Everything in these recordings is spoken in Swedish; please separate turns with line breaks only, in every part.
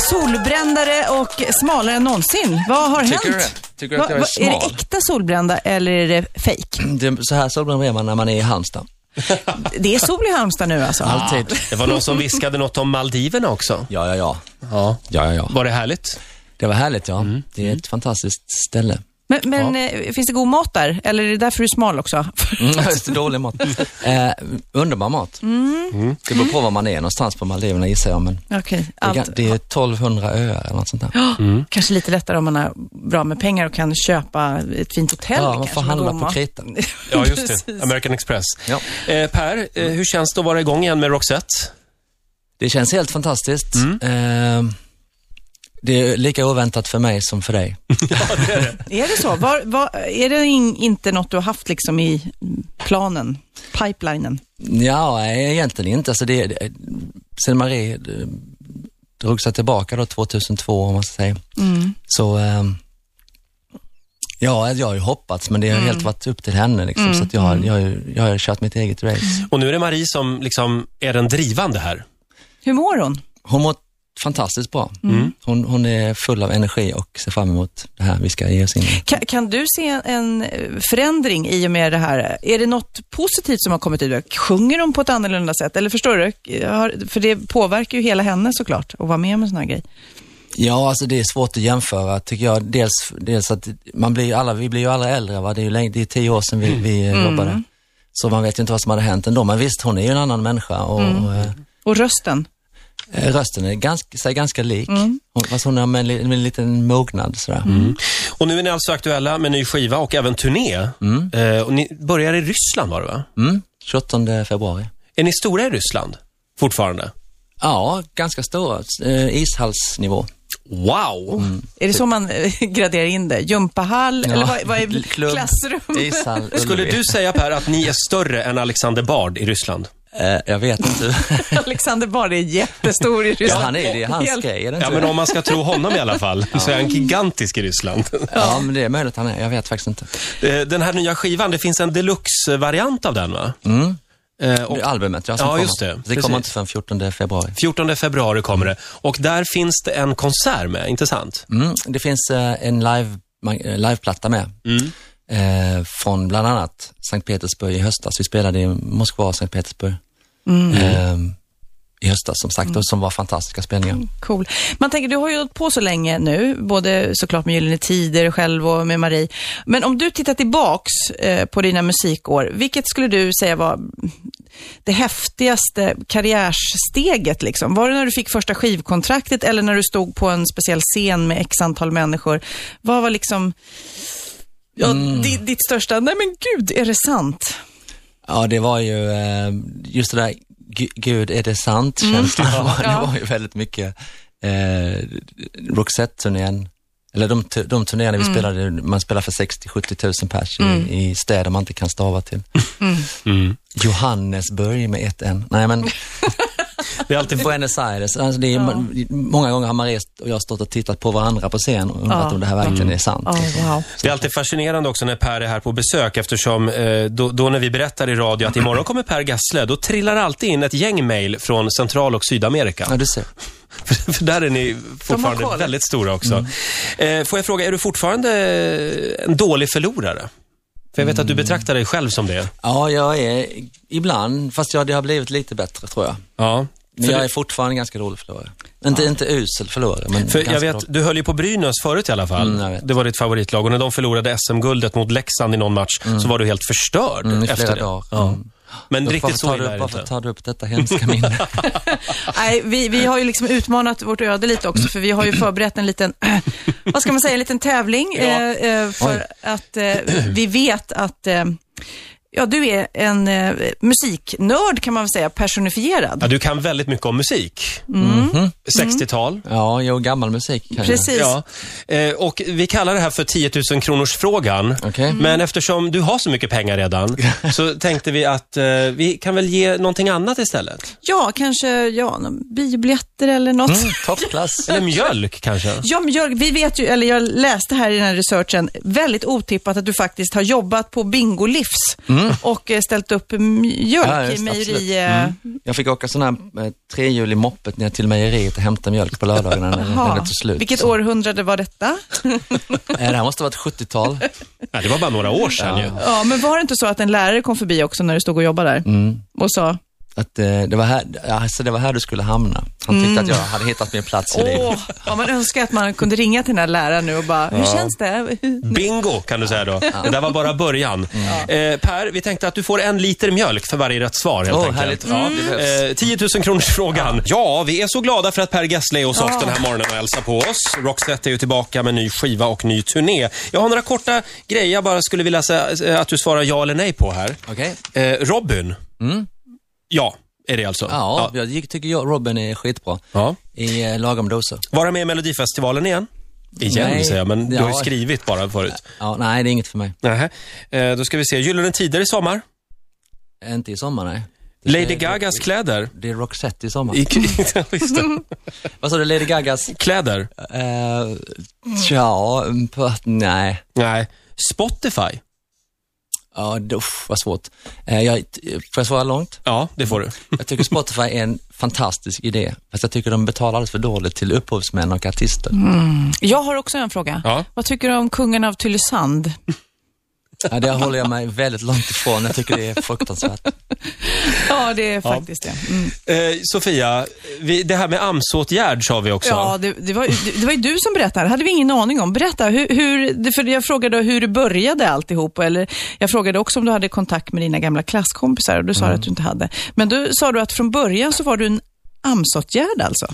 solbrändare och smalare än någonsin. Vad har
Tycker du
hänt?
det? Tycker du att jag är
är det
smal?
äkta solbrända eller är det fejk?
Det, så här solbränd är man när man är i Halmstad.
Det är sol i Halmstad nu alltså.
Alltid.
Det var någon som viskade något om Maldiverna också.
Ja, ja, ja.
Ja.
ja, ja, Mm. ja.
Var det härligt?
Det var härligt, ja. Det är ett fantastiskt ställe.
Men, men eh, finns det god mat där? Eller är det därför du är smal också?
Mm, just det, dålig mat. Mm. Eh, underbar mat.
Mm.
Det beror på var man är någonstans på Maldiverna gissar jag, men
Okej,
det, Mm. är
allt. Ah,
ga- det är 1200 öar eller något sånt där.
Kanske lite lättare om man har bra med pengar och kan köpa ett fint hotell.
Ja, man
kanske
får
med
handla
god
på
mat.
krita.
Ja, just
Precis.
det. American Express.
Ja.
Eh, per, eh, hur känns det att vara igång igen med Roxette?
Det känns helt fantastiskt. Eh, det är lika oväntat för mig som för dig.
Är det så? Var, var, är det in, inte något du har haft liksom i planen, pipelinen?
Ja, nej, egentligen inte. Alltså det, det, sen Marie eh, drog sig tillbaka då 2002 om man ska säga. Så ehm, ja, jag har ju hoppats men det har helt varit upp till henne liksom. Så att jag, har- jag, har ju- jag har ju kört mitt eget race.
Och nu är det Marie som liksom är den drivande här.
Hur mår hon?
Hon mår fantastiskt bra. Hon, hon är full av energi och ser fram emot det här vi ska ge oss in i.
Kan, kan du se en eh, förändring i och med det här? Är det något positivt som har kommit ut? Sjunger hon på ett annorlunda sätt? Eller förstår du? Har- För det påverkar ju hela henne såklart, att vara med om en sån här grej.
Ja, alltså det är svårt att jämföra tycker jag. Dels, dels att man blir ju alla, vi blir ju alla äldre, va? Det, är ju länge, det är tio år sedan vi, vi
Mm.
eh, jobbade. Så man vet ju inte vad som hade hänt ändå. Men visst, hon är ju en annan människa och,
Mm.
och eh,
Och rösten?
eh, rösten är ganska, sig ganska lik.
Mm.
Hon, fast hon har med, en li- med en liten mognad sådär.
Och nu är ni alltså aktuella med ny skiva och även turné. Eh, och ni börjar i Ryssland var det va?
Mm. 28 februari.
Är ni stora i Ryssland fortfarande?
Ja, ganska stora. Eh, ishallsnivå.
Wow!
Är det så man eh, graderar in det? Gympahall? Eller vad, vad är
Klubb,
klassrum?
Ishall,
Skulle
Ullevi.
du säga Per att ni är större än Alexander Bard i Ryssland?
Eh, jag vet inte.
Alexander Bard är jättestor i
ja,
Ryssland.
han är, det är hans
Helt-
grej, är det inte?
Ja, men om man ska tro honom i alla fall, så är han gigantisk i Ryssland.
ja, men det är möjligt han är. Jag vet faktiskt inte.
Eh, Den här nya skivan, det finns en deluxe-variant av den va? Eh, Och
Det är albumet, ja, som
Ja,
kommer.
just det.
Det
Precis.
kommer inte förrän 14 februari.
14 februari kommer det. Och där finns det en konsert med, inte sant?
Mm, det finns eh, en live, man- eh, liveplatta med.
Mm.
Eh, från bland annat Sankt Petersburg i höstas. Vi spelade i Moskva och Sankt Petersburg
Mm.
eh, i höstas som sagt och som var fantastiska spelningar.
Cool. Man tänker, du har ju hållit på så länge nu, både såklart med Gyllene Tider själv och med Marie. Men om du tittar tillbaks eh, på dina musikår, vilket skulle du säga var det häftigaste karriärssteget? Liksom? Var det när du fick första skivkontraktet eller när du stod på en speciell scen med x antal människor? Vad var liksom ja, di- ditt största, nej men gud, är det sant?
Ja, det var ju eh, just det där, "Gu- gud är det sant-känslan. Det var ju väldigt mycket eh, Roxette-turnén, eller de, tu- de turnéerna vi spelade, man spelar för 60-70 000 pers i, i städer man inte kan stava till. Johannesburg med ett N. Nej men,
Det är alltid
Buenos Aires. Alltså det är, man- många gånger har Maria och jag stått och tittat på varandra på scen och undrat
Ja.
om det här verkligen är sant.
Oh, wow.
Det är alltid fascinerande också när Per är här på besök eftersom eh, då, då när vi berättar i radio att imorgon kommer Per Gessle, då trillar alltid in ett gäng mejl från Central och Sydamerika.
Ja, du ser.
För, för där är ni fortfarande
koll.
väldigt stora också. Eh, får jag fråga, är du fortfarande eh, en dålig förlorare? För jag vet att du betraktar dig själv som det.
Ja, jag är ibland, fast jag, det har blivit lite bättre tror jag.
Ja.
Men
För,
jag
du,
är fortfarande en ganska dålig förlorare. Inte, inte usel förlorare, men
för
ganska
jag vet,
dålig.
du höll ju på Brynäs förut i alla fall.
Mm, jag vet.
det var ditt favoritlag. Och när de förlorade SM-guldet mot Leksand i någon match så var du helt förstörd
Mm, i flera
efter det.
dagar. Mm.
Men riktigt
varför,
så
tar
illa
du,
är det
varför
inte.
tar du upp detta hemska minne?
Nej, vi, vi har ju liksom utmanat vårt öde lite också, för vi har ju förberett en liten, vad ska man säga, en liten tävling. eh, eh, för
Oj.
att eh, vi vet att eh, ja, du är en eh, musiknörd kan man väl säga, personifierad.
Ja, du kan väldigt mycket om musik.
Mhm.
60-tal.
ja, jo, gammal musik kan
Precis.
Ja. Eh, och vi kallar det här för 10 000 kronors frågan.
jag. Okej.
Men eftersom du har så mycket pengar redan, så tänkte vi att eh, vi kan väl ge någonting annat istället.
Ja, kanske ja, någon biobiljetter eller något.
Mm, toppklass.
Eller mjölk kanske.
Ja, men Jörg, vi vet ju, eller jag läste här i den här researchen, väldigt otippat att du faktiskt har jobbat på Bingo Livs och eh, ställt upp mjölk
Mm. Ja,
i
just,
mejeri...
absolut. Mm.
eh,
Jag fick åka sån här eh, trehjulig moppet ner till mejeriet och hämta mjölk på lördagarna när när
Jaha.
det tog slut.
Vilket
Så,
århundrade var detta?
eh, Det här måste ha varit 70-tal.
Ja, det var bara några år sedan ju.
Ja, men var det inte så att en lärare kom förbi också när du stod och jobbade där
Mm.
och sa,
Att, eh, det, var här, alltså, det var här du skulle hamna. Han tyckte att jag hade hittat min plats i livet.
åh, ja, man önskar att man kunde ringa till den här läraren nu och bara, hur känns det?
Bingo, kan du säga då. Det där var bara början. Eh, per, vi tänkte att du får en liter mjölk för varje rätt svar. Helt
Åh,
enkelt.
härligt.
Ja.
Mm. Det behövs.
Eh, 10 000 kronors frågan. Ja. vi är så glada för att Per Gessle är hos oss den här morgonen och hälsar på oss. Roxette är ju tillbaka med ny skiva och ny turné. Jag har några korta grejer jag bara skulle vilja säga, eh, att du svarar ja eller nej på här.
Okej.
Eh, Robin. Ja, är det alltså.
Mm. Ja, jag gick- tycker jag Robin är skitbra.
Ja.
I eh, lagom doser.
Vara med i Melodifestivalen igen? Igen,
Nej.
säger jag, men du har ju
Ja.
skrivit bara förut.
Ja, nej, det är inget för mig.
Nähä. Eh, då ska vi se. Gyllene Tider i sommar.
Inte i sommar, nej. Det
Lady
är-
Gagas kläder.
Det är Roxette i sommar.
I, Ja, just det.
Vad sa du, Lady Gagas?
kläder?
Uh, ja, på, nej.
Nej. Spotify?
Ja, det- usch, vad svårt. Eh, jag, får jag svara långt?
Ja, det får du.
Jag tycker Spotify är en fantastisk idé, fast jag tycker de betalar alldeles för dåligt till upphovsmän och artister.
Jag har också en fråga.
Ja.
Vad tycker du om kungen av Tylösand?
Ja, det håller jag mig väldigt långt ifrån. Jag tycker det är fruktansvärt.
Ja, det är faktiskt det. Mm.
Eh, Sofia, vi, det här med AMS-åtgärd sa vi också.
Ja, det, det, var, ju- det var ju du som berättade. Det hade vi ingen aning om. Berätta, hur, hur, det- för jag frågade hur det började alltihop. Eller jag frågade också om du hade kontakt med dina gamla klasskompisar och du sa att du inte hade. Men då sa du att från början så var du en AMS-åtgärd alltså?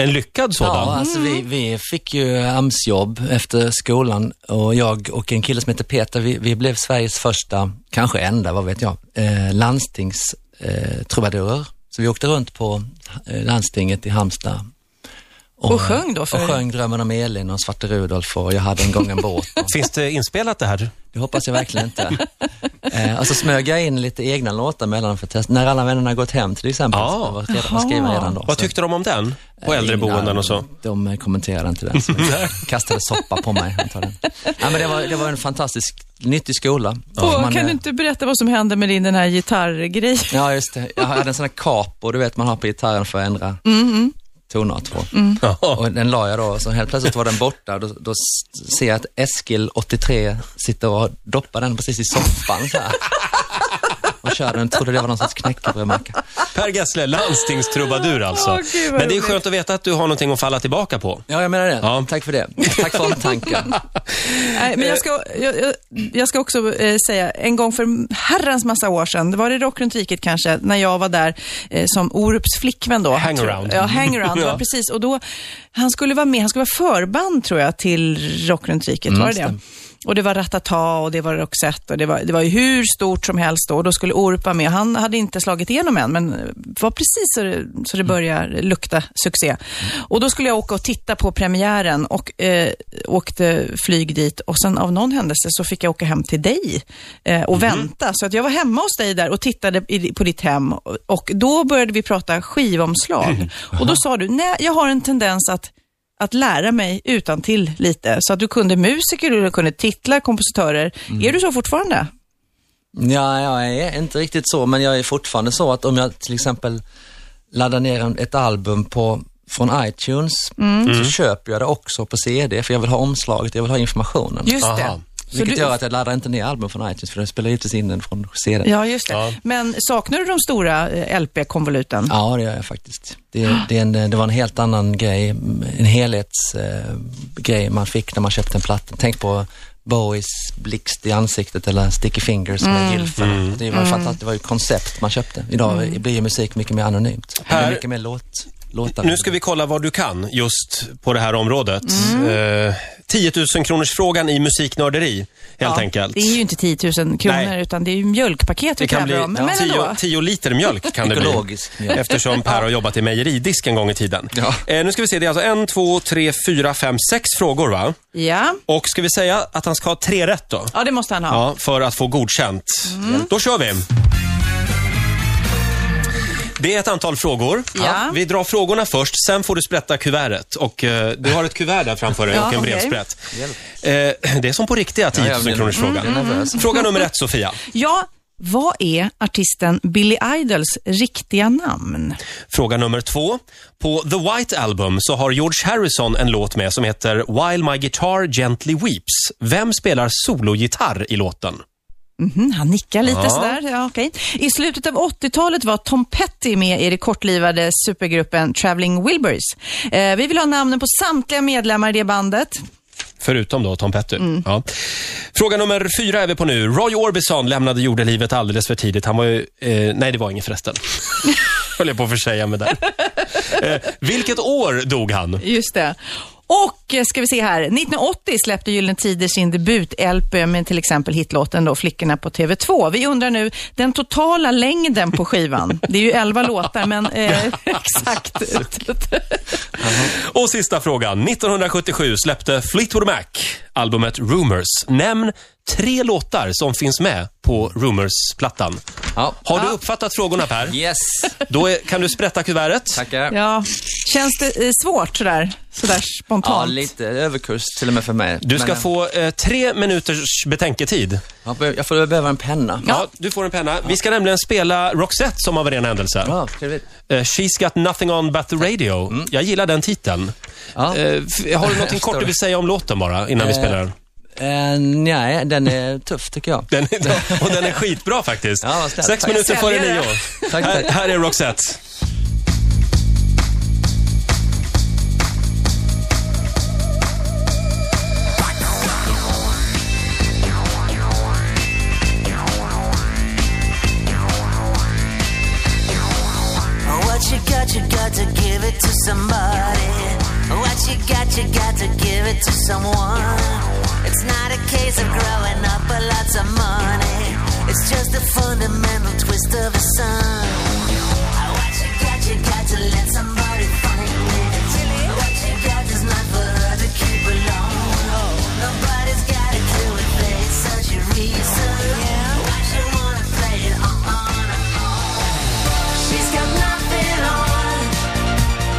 En lyckad sådan.
Ja, alltså vi, vi fick ju AMS-jobb efter skolan och jag och en kille som heter Peter, vi, vi blev Sveriges första, kanske enda, vad vet jag, eh, landstingstrubadurer. Eh, trubadurer. så vi åkte runt på eh, landstinget i Halmstad.
Och sjöng då för-
Och sjöng Drömmen om Elin och Svarte Rudolf och Jag hade en gång en båt. Och,
Finns det inspelat det här?
det hoppas jag verkligen inte. Eh, och så smög jag in lite egna låtar mellan för att testa. När alla vännerna gått hem till exempel,
Ja.
så var jag redan, var skriven redan då.
Vad
så-
tyckte de om den? På äldreboenden och så?
Eh, de kommenterade inte den, så de kastade soppa på mig antagligen. Ja, men det, var, det var en fantastisk, nyttig skola.
och
Man,
kan du
eh,
inte berätta vad som hände med din den här gitarrgrejen?
Ja, just det. Jag hade en sån här capo, du vet, man har på gitarren för att ändra
Mm,
tonart på.
Ja.
Och den la jag då, så helt plötsligt var den borta. Då, då s- ser jag att Eskil, 83, sitter och doppar den precis i soffan så här. Och kör den, trodde det var någon sorts knäckebrödmacka.
Per Gessle, landstingstrubadur alltså.
Åh, gud, vad
Men det är
roligt.
skönt att veta att du har någonting att falla tillbaka på.
Ja, jag menar det.
Ja.
Tack för det. Tack för omtanken.
Nej, men jag ska, jag, jag- jag ska också eh, säga, en gång för herrans massa år sedan, det var i Rock runt riket kanske, när jag var där eh, som Orups flickvän då.
Hangaround.
Ja, hangaround,
Ja.
ja. precis. Och då, han skulle vara med, han skulle vara förband tror jag till Rock runt riket,
Mm,
var det det? Och det var Ratata och det var Roxette och det var, det var ju hur stort som helst då. Och då skulle Orup vara med. Han hade inte slagit igenom än, men var precis så det, så
Mm.
det börjar lukta succé. Och då skulle jag åka och titta på premiären och eh, åkte flyg dit. Och sen av någon händelse så fick jag åka hem till dig eh,
Mhm.
och vänta. Så att jag var hemma hos dig där och tittade i, på ditt hem. Och, och då började vi prata skivomslag. Och då sa du, nej, jag har en tendens att att lära mig utan till lite. Så att du kunde musiker, du kunde titlar, kompositörer.
Mm.
Är du så fortfarande?
Ja, jag är inte riktigt så, men jag är fortfarande så att om jag till exempel laddar ner en- ett album på, från iTunes,
Mm.
så köper jag det också på CD, för jag vill ha omslaget, jag vill ha informationen.
Just
Aha.
det. Så
Vilket
du,
gör att jag laddar inte ner album från iTunes, för jag spelar givetvis in den från CD. Ja,
Ja, just det.
Ja.
Men saknar du de stora eh, LP-konvoluten?
det gör jag faktiskt. Det, det, är en, det var en helt annan grej, en helhetsgrej eh, grej man fick när man köpte en platta. Tänk på Bowies blixt i ansiktet eller Sticky Fingers med Gylfen. Det, var ju fantastiskt, det var ju koncept man köpte. Idag blir ju musik mycket mer anonymt. Det
Här-
är mycket mer låt, låtar.
Nu ska vi kolla vad du kan just på det här området.
Mm.
Eh, 10 000 kronors frågan i musiknörderi, helt
Ja,
enkelt.
Det är ju inte 10 000 kronor,
Nej.
utan det är ju mjölkpaket vi
Det kan bli
tävlar om. Men men ändå.
10 liter mjölk kan det bli.
Ekologisk mjölk.
Eftersom Per har jobbat i mejeridisk en gång i tiden.
Ja.
Eh, nu ska vi se, det är alltså en, två, tre, fyra, fem, sex frågor va?
Ja.
Och ska vi säga att han ska ha tre rätt då?
ja, det måste han ha.
Ja, för att få godkänt.
Mm.
Då kör vi. Det är ett antal frågor.
Ja.
Vi drar frågorna först, sen får du sprätta kuvertet. Och, eh, du har ett kuvert där framför dig
Ja,
och en
okej.
brevsprätt. Eh, det är som på riktiga 10 000 kronors fråga.
Mm,
Jag blir nervös.
Fråga nummer ett, Sofia.
Ja, Vad är artisten Billy Idols riktiga namn?
Fråga nummer två. På The White Album så har George Harrison en låt med som heter While My Guitar Gently Weeps. Vem spelar sologitarr i låten?
Mhm, han nickar lite
Ja.
sådär. Ja, okej. I slutet av 80-talet var Tom Petty med i det kortlivade supergruppen Traveling Wilburys. Eh, vi vill ha namnen på samtliga medlemmar i det bandet.
Förutom då Tom Petty. Ja. Fråga nummer fyra är vi på nu. Roy Orbison lämnade jordelivet alldeles för tidigt. Han var ju... Eh, nej, det var ingen förresten. Höll jag på att försäga mig där. Eh, vilket år dog han?
Just det. Och eh, ska vi se här, 1980 släppte Gyllene Tider sin debut-LP med till exempel hitlåten då Flickorna på TV2. Vi undrar nu den totala längden på skivan. Det är ju 11 låtar, men eh, exakt.
Och sista frågan. 1977 släppte Fleetwood Mac albumet Rumors. Nämn tre låtar som finns med på Rumors-plattan.
Ja.
Har du uppfattat frågorna Per?
Yes,
Då är, kan du sprätta kuvertet.
tackar.
Ja, känns det eh, svårt sådär, sådär
Ja,
spontant?
lite överkurs till och med för mig.
Du ska
Men,
få eh, tre minuters betänketid.
ja, Jag får behöva en penna.
Ja. du får en penna. Vi ska nämligen spela Roxette som av en ren händelse.
Bra, trevligt.
Eh, She's got nothing on but the radio. Jag gillar den titeln.
Mm. Ja.
Eh, f- har du någonting kort du vill säga om låten bara, innan vi
Eh.
spelar den?
Eh, nej, den är tuff tycker jag.
Den är, och den är skitbra faktiskt.
Ja, vad snällt.
Sex
Tack.
minuter före
Säljare.
nio.
Tack,
här,
tack.
här är Roxette.
What you got, you got to give it to somebody. What you got, you got to give it to someone. It's not a case of growing up or lots of money. It's just a fundamental twist of the sun. What you got, you got to let somebody find it. What you got is not for her to keep alone. Nobody's got a clue if there's such a reason. Why she wanna play it uh-uh. on and on? She's got nothing on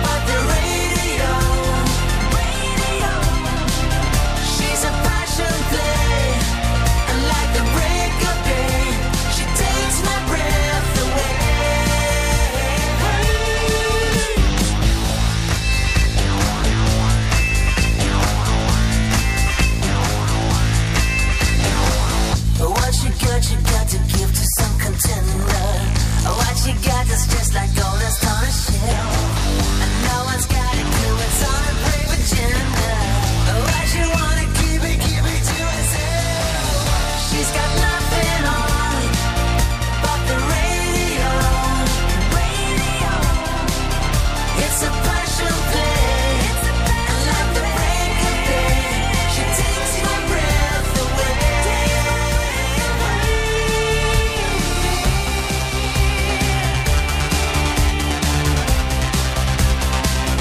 but the radio. Radio. She's a passion play, and like the break of day, she takes my breath away. What you got, you got to give to some contender. What you got is just like gold that's on a shelf. And no one's got a clue what's on a brave agenda. What you wanna keep it, keep it to herself. She's got nothing on but the radio, radio. It's a passion play. And like the break of day, she takes my breath away.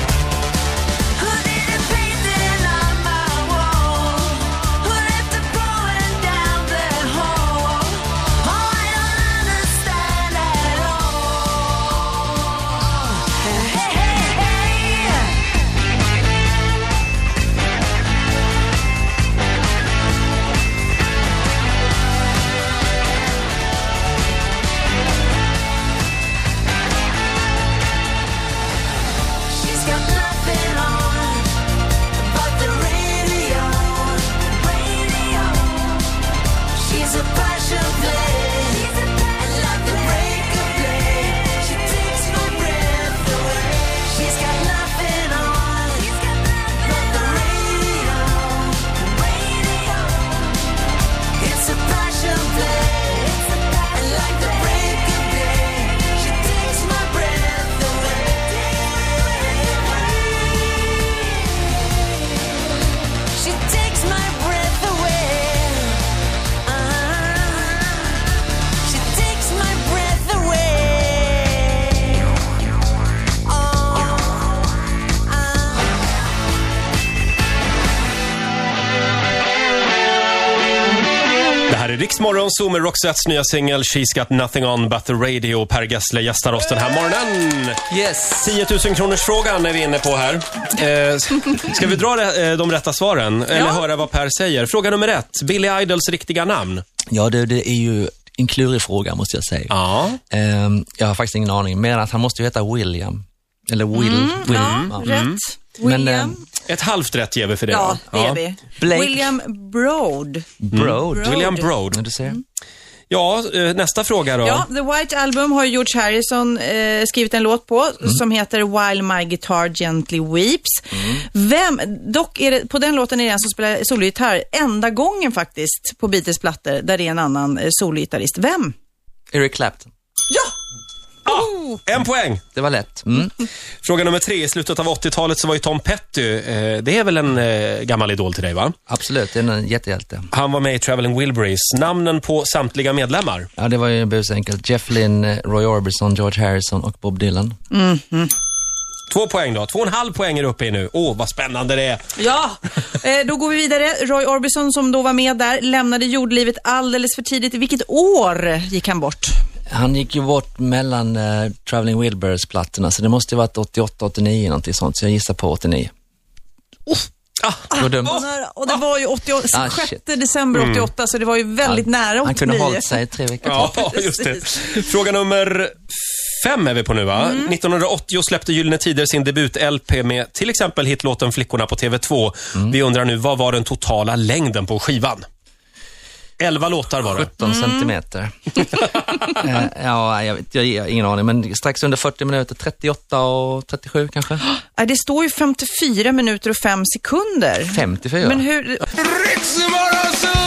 Who did the painting on my wall? Who left the pouring down the hall? Oh, I don't understand at all. Hey, hey, hey. She's got nothing on but the radio, radio. She's a passion play, and like the break of day, she takes my breath away. She's got nothing on but the radio, radio. It's a passion play, and like the break of day, she takes my breath away. She takes my breath away. Uh-huh. She takes my breath away. Oh.
Det här är Riksmorgon Zoom med Roxettes nya singel She's got nothing on but the radio. Per Gessle gästar oss den här morgonen.
Yes.
10 000 kronors frågan är vi inne på här. Eh, s- ska vi dra eh, de rätta svaren? Eller höra vad Per säger? Fråga nummer ett. Billy Idols riktiga namn.
Ja, det, det är ju en klurig fråga måste jag säga.
Ja.
Ehm, jag har faktiskt ingen aning, men att han måste ju heta William. Eller Will. Will.
Mm. Ja,
ja.
rätt.
Mm. Men,
William.
ehm,
Ett halvt rätt ger vi för det.
ja,
va?
det är vi.
Blake.
William Broad.
Broad.
Mm.
William
Ja,
Broad.
Du ser.
Ja, eh, nästa fråga då.
Ja, The White Album har ju George Harrison eh, skrivit en låt på
Mm.
som heter While My Guitar Gently Weeps.
Mm.
Vem, dock är det, på den låten är det en som spelar sologitarr, enda gången faktiskt på Beatles plattor där det är en annan eh, sologitarrist. Vem?
Eric Clapton.
Ja!
En poäng.
Det var lätt. Mm.
Fråga nummer tre. I slutet av 80-talet så var ju Tom Petty, eh, det är väl en eh, gammal idol till dig va?
Absolut, det är en jättehjälte.
Han var med i Traveling Wilburys. Namnen på samtliga medlemmar.
Ja, det var ju busenkelt. Jeff Lynne, Roy Orbison, George Harrison och Bob Dylan.
Två poäng då. Två och en halv poäng är du uppe i nu. Åh, vad spännande det är.
Ja! eh, då går vi vidare. Roy Orbison som då var med där lämnade jordlivet alldeles för tidigt. I vilket år gick han bort?
Han gick ju bort mellan eh, Traveling Wilburys-plattorna, så det måste ju varit 88, 89 någonting sånt, så jag gissar på 89.
Ah,
Vad dumt.
Och det var ju 88,
Ah,
6
shit.
december 88, så det var ju väldigt nära 89.
Han kunde ha hållit sig tre veckor till.
ja, just det. Fråga nummer fem är vi på nu va? 1980 släppte Gyllene Tider sin debut-LP med till exempel hitlåten Flickorna på TV2. Vi undrar nu, vad var den totala längden på skivan? Elva låtar var det.
17 centimeter. Eh, ja, jag, vet, jag, jag har ingen aning, men strax under 40 minuter, 38 och 37 kanske?
Nej, Det står ju 54 minuter och 5 sekunder.
54.
Men hur...
Ritzemorgonzoo!